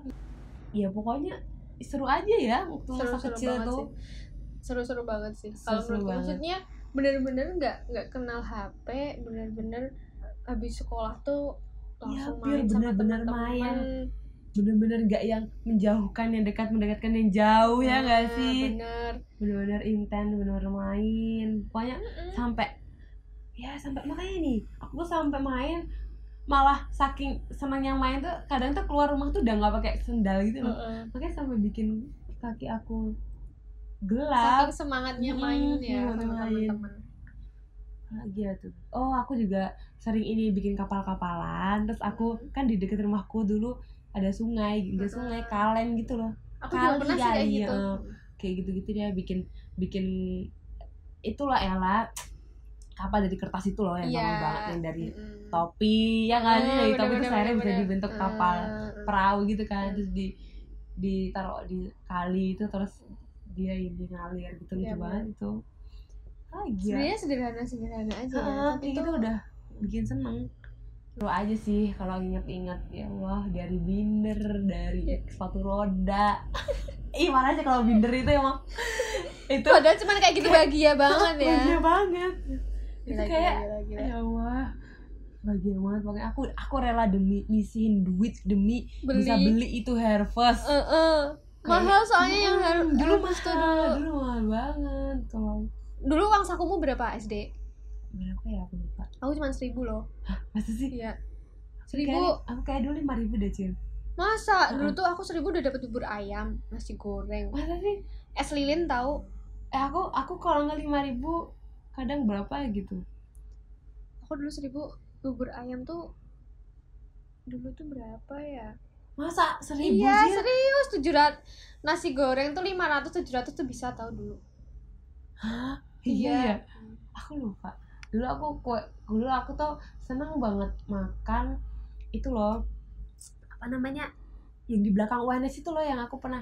B: Ya pokoknya seru aja ya waktu masa
A: Seru-seru
B: kecil
A: banget
B: tuh.
A: sih. Seru-seru banget sih. Kalau
B: Seru-seru
A: menurutku
B: banget.
A: maksudnya bener-bener nggak nggak kenal HP, bener-bener habis sekolah tuh
B: Iya,
A: langsung
B: pure
A: main sama
B: bener-bener
A: teman-teman.
B: main. Bener-bener nggak yang menjauhkan yang dekat mendekatkan yang jauh ya nggak
A: Nah,
B: sih.
A: Bener.
B: Bener-bener intens, bener-bener main. Pokoknya sampai ya sampai makanya nih aku tuh sampai main malah saking senang yang main tuh kadang tuh keluar rumah tuh udah nggak pakai sendal gitu loh
A: Heeh.
B: makanya sampai bikin kaki aku gelap
A: Saking semangatnya
B: Mm-mm,
A: main ya
B: semangat
A: sama
B: main.
A: teman-teman.
B: lagi ya tuh oh aku juga sering ini bikin kapal-kapalan terus aku
A: Hmm.
B: kan di deket rumahku dulu ada sungai ada
A: Hmm.
B: sungai kalen gitu loh
A: Aku juga
B: Kali
A: pernah sih kayak
B: kali, eh,
A: gitu.
B: heeh. kayak gitu-gitu dia bikin bikin itulah Ella kapal dari kertas itu loh yang
A: Iya. Hmm,
B: lama banget yang dari
A: Mm-mm.
B: topi ya kan
A: Heeh,
B: dari topi
A: bener-bener,
B: terus akhirnya bisa
A: bener-bener.
B: dibentuk
A: Hmm.
B: kapal
A: Iya, Heeh.
B: perahu gitu kan
A: Hmm.
B: terus di ditaruh di kali itu terus dia ini ngalir gitu
A: Iya,
B: lucu banget itu lagi ya
A: Sebenarnya sederhana-sederhana aja ya,
B: Heeh,
A: tapi
B: kayak
A: tuh
B: gitu udah bikin seneng Seru aja sih kalau inget-inget ya Allah dari binder
A: Iya.
B: dari sepatu roda [LAUGHS] ih mana aja kalau binder itu
A: [LAUGHS]
B: emang itu
A: padahal cuman
B: Iya.
A: kayak gitu bahagia banget ya. iya.
B: bahagia banget itu
A: Gila,
B: kayak
A: gila, gila, gila.
B: ya Allah bahagia banget pokoknya aku aku rela demi nyisihin duit demi
A: Beli.
B: bisa beli itu hair first
A: Eh, eh. mahal soalnya yang
B: Mm,
A: harus
B: dulu
A: harus
B: mahal
A: tuh dulu
B: dulu mahal banget kalau
A: dulu uang sakumu berapa SD
B: berapa ya aku lupa
A: aku cuma seribu loh
B: masa
A: iya
B: sih Kayak-
A: seribu
B: aku kayak dulu lima ribu deh cil
A: masa dulu tuh aku seribu udah dapat bubur ayam nasi goreng
B: masa sih
A: es lilin tahu
B: eh aku aku kalau nggak lima ribu kadang berapa gitu
A: aku dulu seribu bubur ayam tuh dulu tuh berapa ya
B: masa seribu
A: Iya
B: Cil?
A: serius tujuh nasi goreng tuh 500 700 tuh bisa tahu dulu.
B: Hah? iya ya aku lupa dulu aku kue dulu aku tuh seneng banget makan itu loh apa namanya yang di belakang UNS itu loh yang aku pernah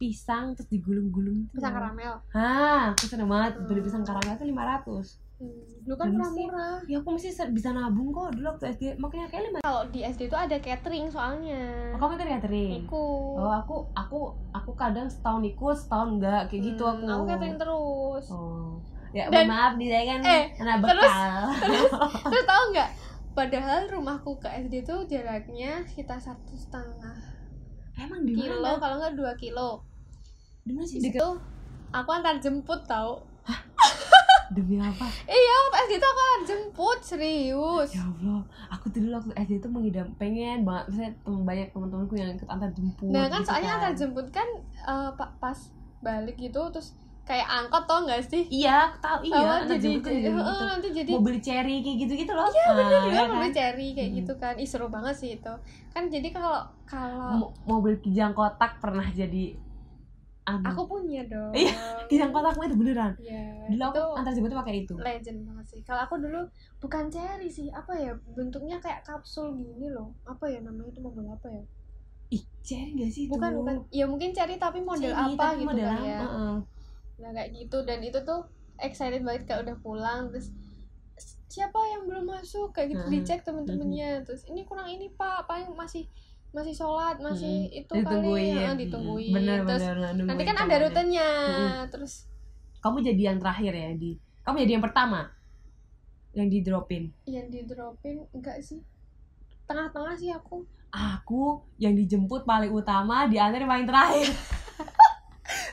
B: pisang terus digulung-gulung itu
A: Pisang
B: loh.
A: karamel.
B: Hah, aku seneng banget beli
A: Hmm.
B: pisang karamel itu 500
A: Hmm, Dulu kan
B: Dulu sih.
A: murah-murah.
B: Ya aku masih se- bisa nabung kok dulu waktu SD Makanya kayak lima
A: Kalau di SD itu ada catering soalnya.
B: oh, Kamu itu catering?
A: Ikut.
B: Oh aku, aku, aku kadang setahun ikut, setahun enggak Kayak gitu
A: Hmm,
B: aku
A: Aku catering terus.
B: Oh Ya
A: Dan-
B: mohon maaf, dia kan
A: eh,
B: anak
A: terus-
B: bekal
A: Terus tahu nggak? Padahal rumahku ke SD tuh jaraknya sekitar satu setengah
B: Emang di
A: kilo,
B: mana?
A: kalau nggak dua kilo.
B: Di mana sih?
A: Di situ aku antar jemput tau.
B: Demi apa?
A: Iya, waktu SD tuh aku antar jemput serius.
B: Ya Allah, aku tuh dulu waktu SD itu mengidam pengen banget misalnya tem- banyak teman-temanku yang ikut antar jemput. gitu
A: Nah kan soalnya antar
B: jemput.
A: jemput kan eh, pa- pas balik gitu terus kayak angkot tau nggak sih?
B: Iya, aku tahu iya,
A: Oh,
B: antar
A: jadi,
B: jemput tuh
A: jadi,
B: jadi
A: eh,
B: gitu.
A: nanti jadi
B: Mau beli cherry kayak gitu-gitu loh. Iya, benar
A: juga mau beli cherry kayak
B: Hmm.
A: gitu kan. Ih seru banget sih itu. Kan jadi kalau kalau
B: Mau, mau beli kijang kotak pernah jadi anu.
A: aku punya dong.
B: Iya, kijang kotakmu itu beneran.
A: Iya,
B: Dulu aku
A: itu
B: antar jemput pakai itu.
A: legend banget sih. Kalau aku dulu bukan cherry sih, apa ya? Bentuknya kayak kapsul gini loh. Apa ya namanya itu model apa ya?
B: Ih, cherry gak sih itu?
A: Bukan, bukan. Ya mungkin cherry tapi model
B: Cherry,
A: apa
B: tapi
A: gitu
B: model
A: kan
B: apa,
A: ya.
B: heeh.
A: Nah kayak gitu dan itu tuh excited banget kayak udah pulang terus siapa yang belum masuk kayak gitu
B: Hmm.
A: dicek temen-temennya terus ini kurang ini pak paling masih masih sholat masih
B: Hmm.
A: itu paling
B: Ditungguin.
A: ah, ditungguin
B: Bener,
A: terus
B: bener, bener,
A: nanti
B: nungguin
A: kan ada
B: temennya.
A: rutenya
B: Mm-mm.
A: terus
B: Kamu jadi yang terakhir ya di. Kamu jadi yang pertama yang di dropin.
A: yang di dropin enggak sih tengah-tengah sih aku
B: aku yang dijemput paling utama diantar yang paling
A: [LAUGHS]
B: terakhir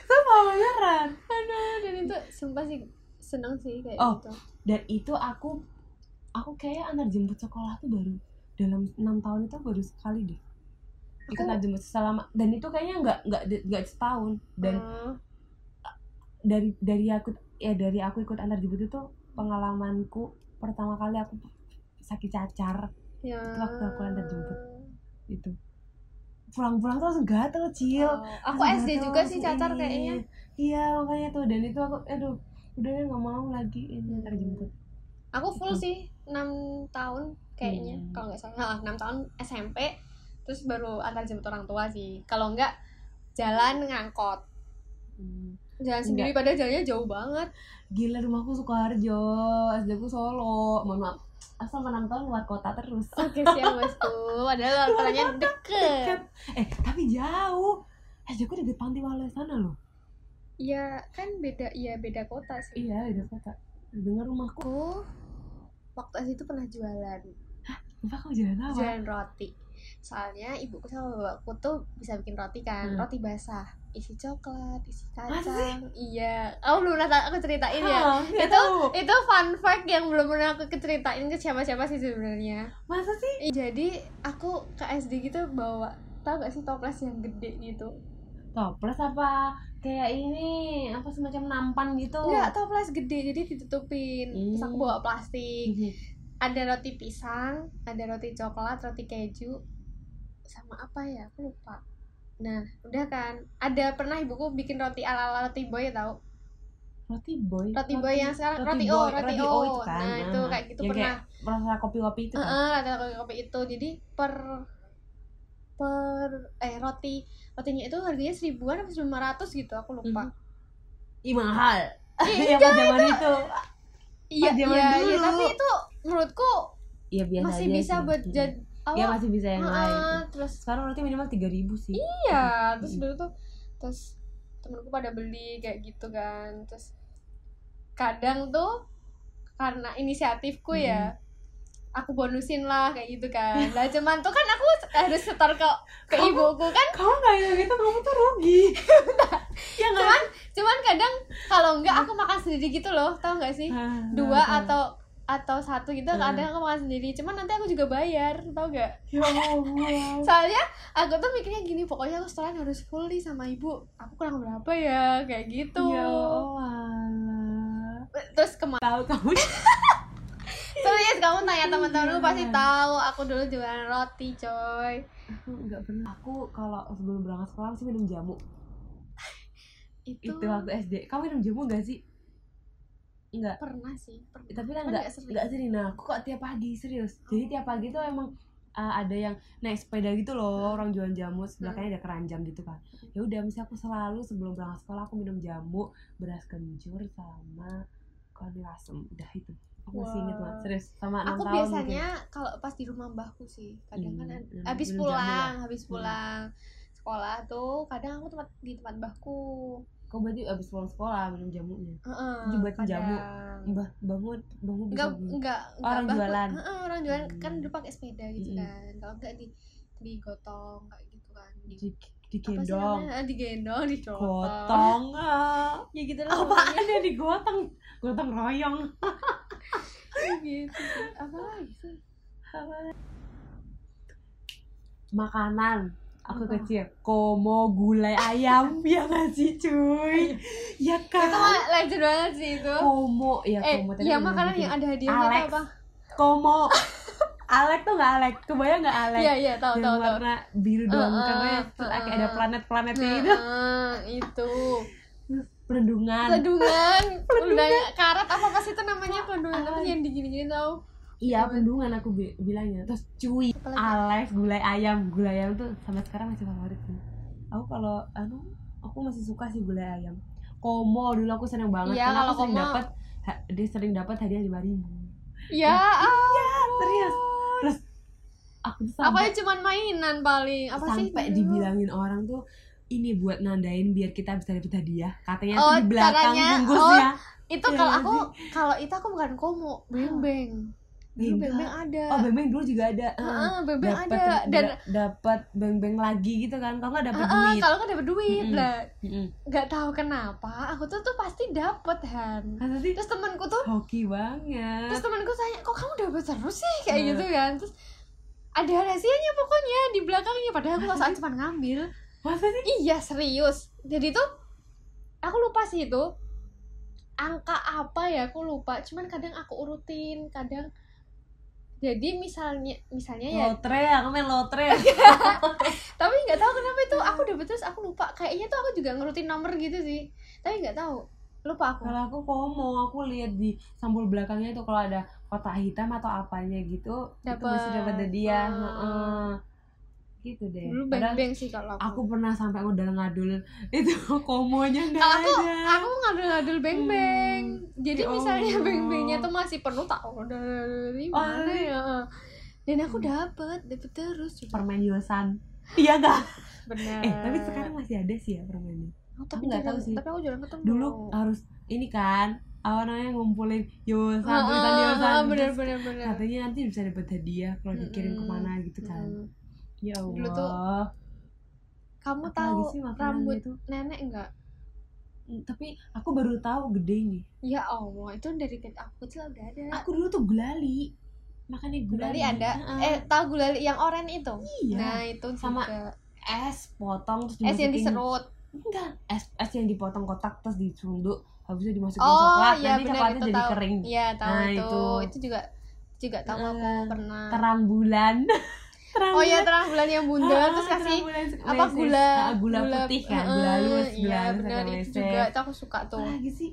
B: Sumpah beneran
A: aduh Ah, dan itu sumpah sih seneng sih kayak
B: Oh.
A: gitu
B: dan itu aku aku kayak antar jemput sekolah tuh baru dalam enam tahun itu baru sekali deh ikut
A: Aku-
B: antar jemput selama dan itu kayaknya nggak nggak de- nggak setahun dan
A: Hmm.
B: dari dari aku ya dari aku ikut antar jemput itu pengalamanku pertama kali aku sakit cacar
A: ya
B: itu waktu aku antar jemput. itu pulang-pulang tuh langsung gatel cil
A: Oh, aku
B: Aduh,
A: SD
B: gatel,
A: juga sih
B: langsung
A: cacar
B: ini.
A: kayaknya
B: iya makanya tuh dan itu aku aduh udah deh, nggak mau lagi ini ntar jemput
A: aku full
B: Gitu.
A: sih 6 tahun kayaknya
B: Hmm.
A: kalau nggak salah enam tahun SMP terus baru antar jemput orang tua sih kalau nggak jalan ngangkot Hmm. jalan sendiri padahal jalannya jauh banget
B: gila rumahku Sukoharjo SD ku Solo mohon maaf asal enam tahun luar kota terus
A: [LAUGHS] oke siap bosku [LAUGHS] padahal kotanya deket
B: Deket. eh tapi jauh SD ku deket panti Waluyo sana loh
A: ya kan beda ya beda kota sih
B: iya udah kota dengar
A: aku
B: rumahku
A: waktu itu pernah jualan
B: lupa kau jalan apa
A: jualan roti soalnya ibuku sama bapakku tuh bisa bikin roti kan
B: Hmm.
A: roti basah isi coklat isi
B: Masa sih?
A: kacang iya aku belum pernah aku ceritain ya
B: Hah, nggak
A: Itu-
B: tahu.
A: itu fun fact yang belum pernah aku ceritain ke siapa-siapa sih sebenarnya
B: masa sih
A: Ih, jadi aku ke SD gitu bawa tau gak sih toples yang gede gitu
B: toples apa kayak ini apa semacam nampan gitu
A: enggak toples gede jadi ditutupin terus aku
B: Hmm.
A: bawa plastik
B: Ih,
A: ada roti pisang ada roti coklat roti keju sama apa ya aku lupa nah udah kan ada pernah ibuku bikin roti ala ala roti boy tau
B: roti boy
A: roti boy yang sekarang roti, o
B: boy,
A: roti, o, nah itu kayak gitu
B: Yang
A: pernah
B: kayak rasa kopi-kopi itu kan?
A: Heeh, rata kopi kopi itu jadi per per eh roti rotinya itu harganya seribuan atau lima ratus gitu aku
B: Mhm.
A: lupa
B: Ih mahal.
A: Iya,
B: [LAUGHS] Yang pas zaman itu.
A: iya
B: zaman
A: iya
B: dulu.
A: iya tapi itu menurutku
B: Iya biasa
A: masih
B: aja
A: bisa
B: sih.
A: buat
B: Hmm.
A: jadi
B: Iya
A: awal
B: masih bisa yang lain.
A: Heeh, terus
B: Sekarang roti minimal 3000 sih.
A: iya terus
B: Mm.
A: dulu tuh terus temenku pada beli kayak gitu kan
B: Mhm.
A: terus kadang tuh karena inisiatifku ya aku bonusin lah kayak gitu kan lah cuman tuh kan aku harus setor ke ke
B: Kamu-
A: ibuku kan
B: Kalau nggak yang itu kamu tuh rugi. ya nggak.
A: cuman cuman kadang kalau enggak aku makan sendiri gitu loh tau nggak sih
B: Ah,
A: dua
B: ah, ah.
A: atau atau satu gitu
B: Hmm.
A: kadang aku makan sendiri cuman nanti aku juga bayar tau gak
B: Ya Allah.
A: soalnya aku tuh mikirnya gini pokoknya aku setoran harus full nih sama ibu aku kurang berapa ya kayak gitu
B: Ya Allah.
A: terus kemarin
B: Tahu kamu
A: terus kamu tanya teman-teman lu
B: Iya.
A: pasti tahu aku dulu jualan roti coy
B: aku nggak pernah. Aku kalau sebelum berangkat sekolah masih minum jamu.
A: itu,
B: Itu waktu SD. Kamu minum jamu nggak sih? Enggak.
A: pernah sih pernah.
B: tapi lah
A: Cuman Kan nggak
B: nggak
A: Oh. sering.
B: nggak sering nah aku kok tiap pagi serius jadi tiap pagi tuh emang uh, ada yang naik sepeda gitu loh orang jualan jamu sebelahnya ada keranjang gitu kan ya udah misalnya aku selalu sebelum berangkat sekolah aku minum jamu beras kencur sama kopi asem udah itu aku masih inget banget
A: Wah.
B: serius sama enam
A: aku
B: tahun
A: biasanya kalau pas di rumah mbahku sih kadang kan
B: Hmm,
A: ad-
B: hmm,
A: habis
B: minum jamu
A: pulang
B: ya?
A: habis
B: Hmm.
A: pulang sekolah tuh kadang aku tempat di tempat mbahku
B: mungkin. kau berarti abis pulang sekolah minum jamunya
A: Heeh,
B: Dibuatin jamu.
A: kadang.
B: mbah bangun bangun bisa
A: enggak
B: beli.
A: enggak
B: Orang
A: mbahku-
B: jualan.
A: Heeh, orang jualan kan
B: Hmm.
A: dulu pakai sepeda gitu
B: Mm-mm.
A: kan kalau enggak di digotong kayak gitu kan di
B: di,
A: apa sih
B: digendong
A: namanya? Ah, digendong digotong
B: gotong ah.
A: ya gitu lah pokoknya.
B: apaan ya digotong gotong royong
A: [LAUGHS] gitu sih. apa lagi
B: [LAUGHS]
A: sih
B: makanan aku
A: Apa?
B: kecil komo gulai ayam [LAUGHS] ya nggak sih cuy ya
A: itu
B: kan
A: mah legend banget sih itu
B: komo ya
A: eh
B: komo
A: ya
B: memang
A: makanan
B: gitu.
A: yang ada hadiahnya itu
B: Alex.
A: apa [LAUGHS]
B: komo alek tuh nggak alek kebayang nggak alek
A: iya iya tahu
B: yang
A: tahu Eh, tahu
B: warna biru doang
A: Heeh,
B: mukanya terus
A: heeh.
B: kayak ada
A: Nah.
B: planet-planetnya gitu
A: Heeh, itu
B: perundungan [LAUGHS]
A: peledungan peledungan ya, karat apa apa sih itu namanya peledungan apa sih yang digini-gini tau
B: iya perundungan aku bi- bilangnya terus cuy
A: Apalagi?
B: alek gulai ayam gulai ayam tuh sampai sekarang masih favorit nih aku kalau anu aku masih suka sih gulai ayam komo dulu aku seneng banget
A: Iya,
B: karena
A: kalau
B: aku sering
A: komo.
B: dapat ha- dia sering dapat hadiah lima ribu
A: ya ampun.
B: serius terus aku tuh
A: apa
B: sampai
A: cuman mainan paling apa sih dulu?
B: sampai dibilangin orang tuh ini buat nandain biar kita bisa dapat hadiah katanya
A: Oh,
B: tuh di belakang
A: caranya- Oh,
B: bungkusnya
A: itu
B: Iya
A: kalau
B: nggak
A: aku kalau itu aku bukan komo bembeng dulu
B: Beda.
A: bembeng ada
B: oh, Ah. bembeng dulu juga ada
A: Heeh, bembeng
B: dapat
A: ada dan
B: dapat bembeng lagi gitu kan kalau nggak dapat
A: Heeh,
B: duit
A: kalau kan dapat duit
B: Mm-mm.
A: lah
B: Mm-mm.
A: nggak tahu kenapa aku tuh tuh pasti dapet han
B: Masa sih?
A: terus temanku tuh
B: Hoki banget.
A: terus temanku tanya kok kamu dapat terus sih kayak
B: Hmm.
A: gitu kan terus ada rahasianya pokoknya di belakangnya padahal
B: [LAUGHS]
A: aku
B: Masa
A: saat cuma ngambil
B: Masa sih?
A: iya serius jadi tuh aku lupa sih itu angka apa ya aku lupa cuman kadang aku urutin kadang jadi misalnya misalnya ya
B: Lotre, aku main lotre.
A: [LAUGHS] tapi nggak tahu kenapa itu aku
B: Hmm.
A: dapat terus aku lupa kayaknya tuh aku juga ngerutin nomor gitu sih tapi nggak tahu lupa aku
B: kalau aku komo, aku lihat di sampul belakangnya tuh kalau ada kotak hitam atau apanya gitu, itu
A: Dapat.
B: masih dapat hadiah.
A: Ah.
B: Heeh. Gitu deh.
A: dulu
B: Padahal
A: beng-beng sih kalau
B: aku
A: aku
B: pernah sampai udah ngadul itu [LAUGHS] komonya nggak
A: Kalau aku-
B: ada.
A: aku ngadul-ngadul beng-beng jadi
B: Ya
A: misalnya
B: Allah.
A: beng-bengnya tuh masih penuh tak udah dari
B: Oh,
A: mana
B: ini.
A: ya dan aku dapat dapat terus juga.
B: Permen Yosan. Iya gak?
A: benar
B: Eh, tapi sekarang masih ada sih ya permennya.
A: Oh, tapi
B: nggak
A: jarang-
B: tahu sih.
A: tapi aku jarang ketemu
B: Dulu harus ini kan, apa namanya ngumpulin Yosan,
A: Ah,
B: tulisan
A: ah,
B: Yosan.
A: ah, bener
B: Terus
A: bener bener
B: katanya nanti bisa dapat hadiah kalau dikirim
A: Mm-mm.
B: kemana gitu kan
A: Mm.
B: ya allah
A: Dulu tuh kamu
B: Apalagi
A: tahu
B: sih makanannya
A: rambut
B: tuh?
A: nenek enggak
B: Mm, tapi aku baru tahu gedenya
A: ya allah itu dari ke- aku kecil udah ada
B: aku dulu tuh gulali makanya
A: gulali
B: gulali,
A: ada
B: Heeh.
A: eh tahu gulali yang oranye itu
B: iya
A: nah itu
B: Sama
A: juga.
B: es potong terus
A: es yang
B: dimasukin-
A: diserut
B: enggak es es yang dipotong kotak terus disunduk habisnya dimasukin
A: oh
B: coklat
A: iya
B: nanti
A: benar
B: coklatnya
A: itu
B: jadi
A: tahu
B: kering
A: iya tahu
B: Nah,
A: itu.
B: itu.
A: itu juga juga tahu aku
B: Heeh.
A: pernah
B: terang bulan [LAUGHS] terang
A: oh iya
B: bulan.
A: terang bulan yang bundar
B: Ah,
A: terus
B: terang
A: kasih
B: bulan.
A: apa
B: Meses.
A: gula
B: Ah, gula, putih kan
A: heeh,
B: gula halus gula
A: iya
B: halus ada
A: benar itu
B: meses.
A: juga itu aku suka tuh
B: apalagi sih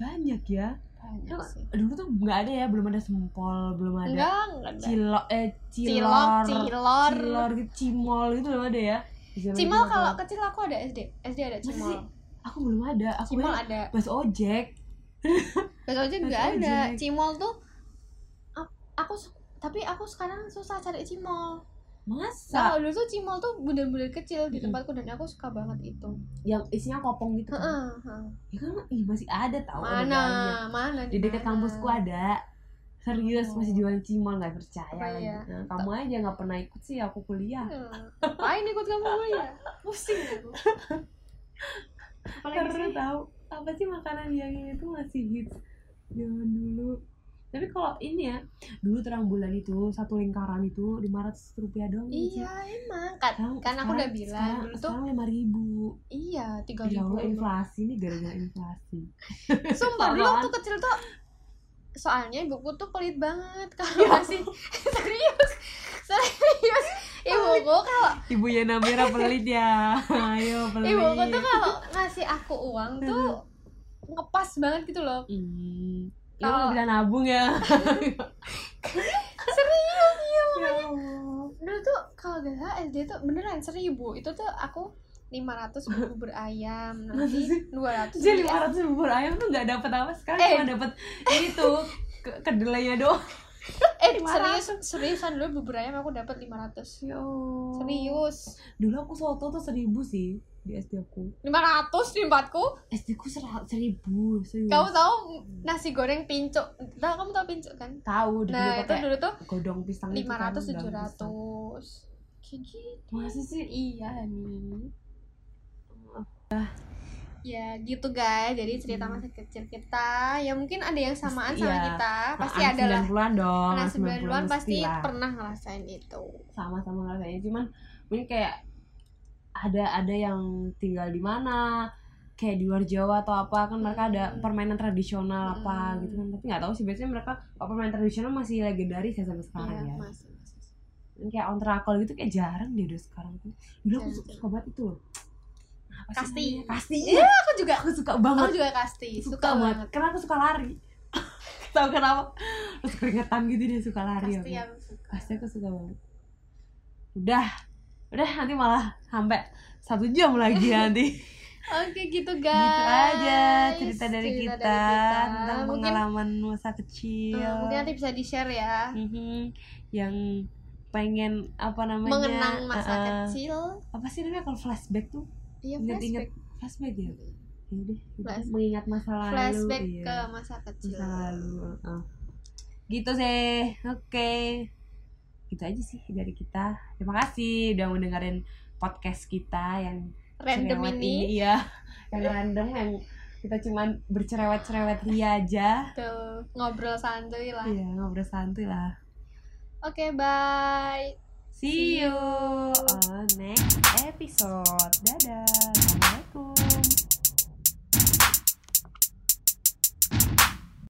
B: banyak ya
A: banyak
B: Tuh,
A: Iya sih
B: dulu tuh nggak ada ya belum ada sempol belum ada
A: enggak enggak ada.
B: cilok eh
A: cilok
B: cilor
A: cilor
B: cilor gitu cimol gitu belum ada ya Di zaman
A: cimol
B: itu
A: kalau
B: aku-
A: kecil aku ada SD SD ada
B: Masa sih?
A: cimol
B: aku belum ada aku
A: cimol
B: bayang
A: ada
B: bas ojek
A: Bakso ojek juga
B: Bakso
A: ada.
B: ojek.
A: Cimol tuh a- aku su- tapi aku sekarang susah cari cimol.
B: masa
A: Nah, dulu tuh cimol tuh bundar-bundar kecil di
B: Mm-mm.
A: tempatku dan aku suka banget itu.
B: yang isinya kopong gitu kan
A: Heeh, heeh.
B: ya kan ih, masih ada tau ada
A: Mana?
B: banyak.
A: Mana?
B: di dekat
A: mana?
B: kampusku ada serius
A: Oh.
B: masih jualan cimol nggak percaya
A: Apa ya?
B: gitu. kamu aja nggak pernah ikut sih aku kuliah
A: Hmm, Ngapain ikut ya? kamu kuliah?
C: pusing aku apalagi
B: Seru
C: sih
B: tahu apa sih makanan yang itu masih hits zaman dulu tapi kalau ini ya dulu terang bulan itu satu lingkaran itu 500 rupiah doang
A: Iya emang kan,
B: Sekarang-
A: kan aku udah
B: sekarang-
A: bilang
B: sekarang,
A: dulu tuh
B: sekarang lima ribu
A: iya tiga
B: ya
A: ribu
B: Allah inflasi nih gara-gara inflasi
A: Sumpah dulu
B: Apaan?
A: waktu kecil tuh soalnya ibuku tuh pelit banget kalau masih [LAUGHS] serius serius ibuku kalau
B: ibu Yana Mira pelit ya [LAUGHS] ayo pelit
A: ibuku tuh kalau ngasih aku uang tuh ngepas banget gitu
B: [LAUGHS]
A: loh
B: Hmm. Lu
A: Kalau-
B: nggak bisa nabung
A: [LAUGHS]
B: ya.
A: serius iya
B: Ya
A: makanya
B: Allah.
A: dulu tuh kalau gak salah SD tuh beneran seribu itu tuh aku 500 bubur ayam nanti 200
B: Jadi
A: beli
B: 500 bubur ayam tuh nggak dapet apa sekarang
A: Gitu ya. Eh.
B: cuma dapet itu ke- kedelainya doang.
A: Eh
B: 500.
A: serius, seriusan dulu bubur ayam aku dapat 500
B: Ya Allah.
A: Serius
B: Dulu aku soto tuh 1000 sih di SD aku.
A: 500 di tempatku
B: SD ku sera- 1000, serius.
A: Kamu tahu nasi goreng pincuk Tahu kamu tahu pincuk kan?
B: tahu dulu
A: Nah itu
B: pakai
A: dulu tuh
B: godong pisang itu
A: 500
B: kan, daun pisang.
A: 700 Kayak gitu
B: Masa sih?
A: Iya nih Ya gitu guys, jadi cerita
B: Hmm.
A: masa kecil kita Ya mungkin ada yang samaan sama
B: Iya.
A: kita Ah, Pasti
B: Anak
A: ada lah
B: 90-an dong.
A: Anak
B: anak
A: 90-an pasti
B: mesti lah.
A: pernah ngerasain itu
B: sama-sama ngerasainnya cuman mungkin kayak ada ada yang tinggal di mana kayak di luar Jawa atau apa kan mereka ada
A: Hmm.
B: permainan tradisional apa
A: Hmm.
B: gitu kan tapi nggak tahu sih biasanya mereka kalau permainan tradisional masih legendaris ya sampai sekarang
A: Iya,
B: ya
A: masih, masih.
B: Dan kayak on trackal gitu kayak jarang deh udah sekarang tuh dulu aku
A: Jarang,
B: suka,
A: jarang.
B: suka banget itu loh apa sih
A: Kasti.
B: namanya? kasti
A: Iya, aku juga
B: aku suka banget
A: Aku juga pasti,
B: suka,
A: suka
B: banget.
A: banget
B: karena aku suka lari [LAUGHS] tahu kenapa terus keringetan gitu dia suka lari
A: Pasti ya.
B: aku.
A: aku suka
B: Pasti aku suka banget. Udah, udah nanti malah sampai satu jam
A: [LAUGHS]
B: lagi nanti.
A: Oke gitu guys.
B: gitu aja cerita dari
A: Cerita
B: kita, tentang
A: mungkin,
B: pengalaman masa kecil.
A: eh, mungkin nanti bisa di share ya.
B: Mhm. yang pengen apa namanya?
A: Mengenang masa
B: uh-uh.
A: kecil.
B: Apa sih namanya kalau flashback tuh?
A: Iya
B: Ingat-ingat
A: flashback.
B: flashback ya. Ya udah, gitu.
A: Flashback.
B: mengingat masa lalu.
A: Flashback
B: iya.
A: ke masa kecil.
B: masa lalu. uh-uh. Gitu sih. Oke. Gitu aja sih dari kita. Terima kasih udah mendengarin podcast kita yang
A: Random
B: cerewet
A: ini.
B: Iya. Yang random yang kita cuman bercerewet-cerewet ria aja.
A: Tuh, gitu. ngobrol santuy lah.
B: Iya, ngobrol santuy lah.
A: Oke, bye.
B: See you on next episode. Dadah. Assalamualaikum.